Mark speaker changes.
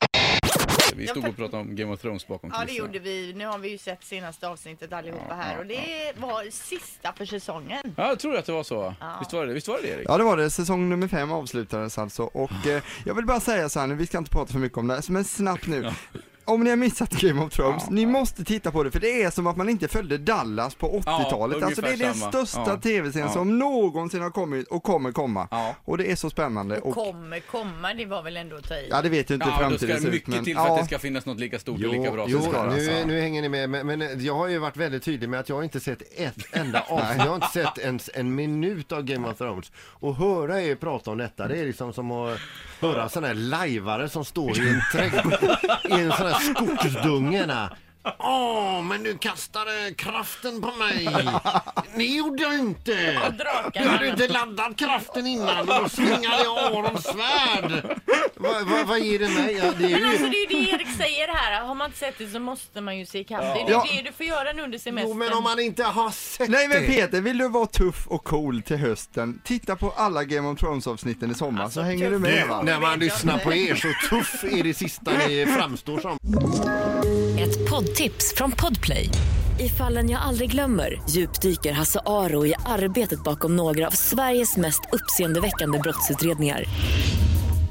Speaker 1: Eh, Vi stod
Speaker 2: Ja,
Speaker 1: och pratade om Game of Thrones bakom
Speaker 2: Ja, det
Speaker 1: kulisserna.
Speaker 2: gjorde vi. Nu har vi ju sett senaste avsnittet allihopa
Speaker 1: Ja,
Speaker 2: här
Speaker 1: ja,
Speaker 2: och det var sista för säsongen.
Speaker 1: Ja, jag tror att det var så. va?
Speaker 2: Ja.
Speaker 1: Visst var det Visst var det, Erik?
Speaker 3: Ja det var det, säsong nummer fem avslutades alltså och eh, jag vill bara säga så här nu, vi ska inte prata för mycket om det här, men snabbt nu. Om ni har missat Game of Thrones, ni måste titta på det för det är som att man inte följde Dallas på 80-talet.
Speaker 1: Ja,
Speaker 3: alltså det är
Speaker 1: ungefär
Speaker 3: den
Speaker 1: samma.
Speaker 3: största
Speaker 1: Ja.
Speaker 3: tv-serien
Speaker 1: Ja.
Speaker 3: som någonsin har kommit och kommer komma.
Speaker 1: Ja.
Speaker 3: Och det är så spännande.
Speaker 2: Och kommer komma, det var väl ändå att ta i.
Speaker 3: ja det vet ju inte hur
Speaker 1: Ja, då ska
Speaker 3: framtiden
Speaker 1: det
Speaker 3: ser ut
Speaker 1: mycket
Speaker 3: men
Speaker 1: till för att det ska finnas något lika stort och lika bra
Speaker 3: jo,
Speaker 1: som det här.
Speaker 3: det.
Speaker 4: nu,
Speaker 3: alltså.
Speaker 4: nu hänger ni med, men, men jag har ju varit väldigt tydlig med att jag har inte sett ett enda avsnitt, jag har inte sett ens en minut av Game of Thrones. Och höra er prata om detta, det är liksom som att höra sådana här lajvare som står i en trädgård, i en sån här skogsdunge där. Åh, men du kastade kraften på mig! Ni gjorde inte! Du hade inte laddat kraften innan och då svingade jag Arons svärd! Vad vad- vad ger det mig? Ja, det är
Speaker 5: Men
Speaker 4: ju...
Speaker 5: alltså det är ju det Erik säger här. Har man inte sett det så måste man ju se ikapp. Det är
Speaker 3: Ja.
Speaker 5: det du får göra nu under semestern.
Speaker 4: Jo, men om man inte har sett
Speaker 3: Nej men
Speaker 4: det.
Speaker 3: Peter, vill du vara tuff och cool till hösten? Titta på alla Game of Thrones avsnitten i sommar så hänger du med va?
Speaker 4: Nu, när man lyssnar på er så tuff är det sista ni framstår som.
Speaker 6: Ett poddtips från Podplay. I fallen jag aldrig glömmer djupdyker Hasse Aro i arbetet bakom några av Sveriges mest uppseendeväckande brottsutredningar.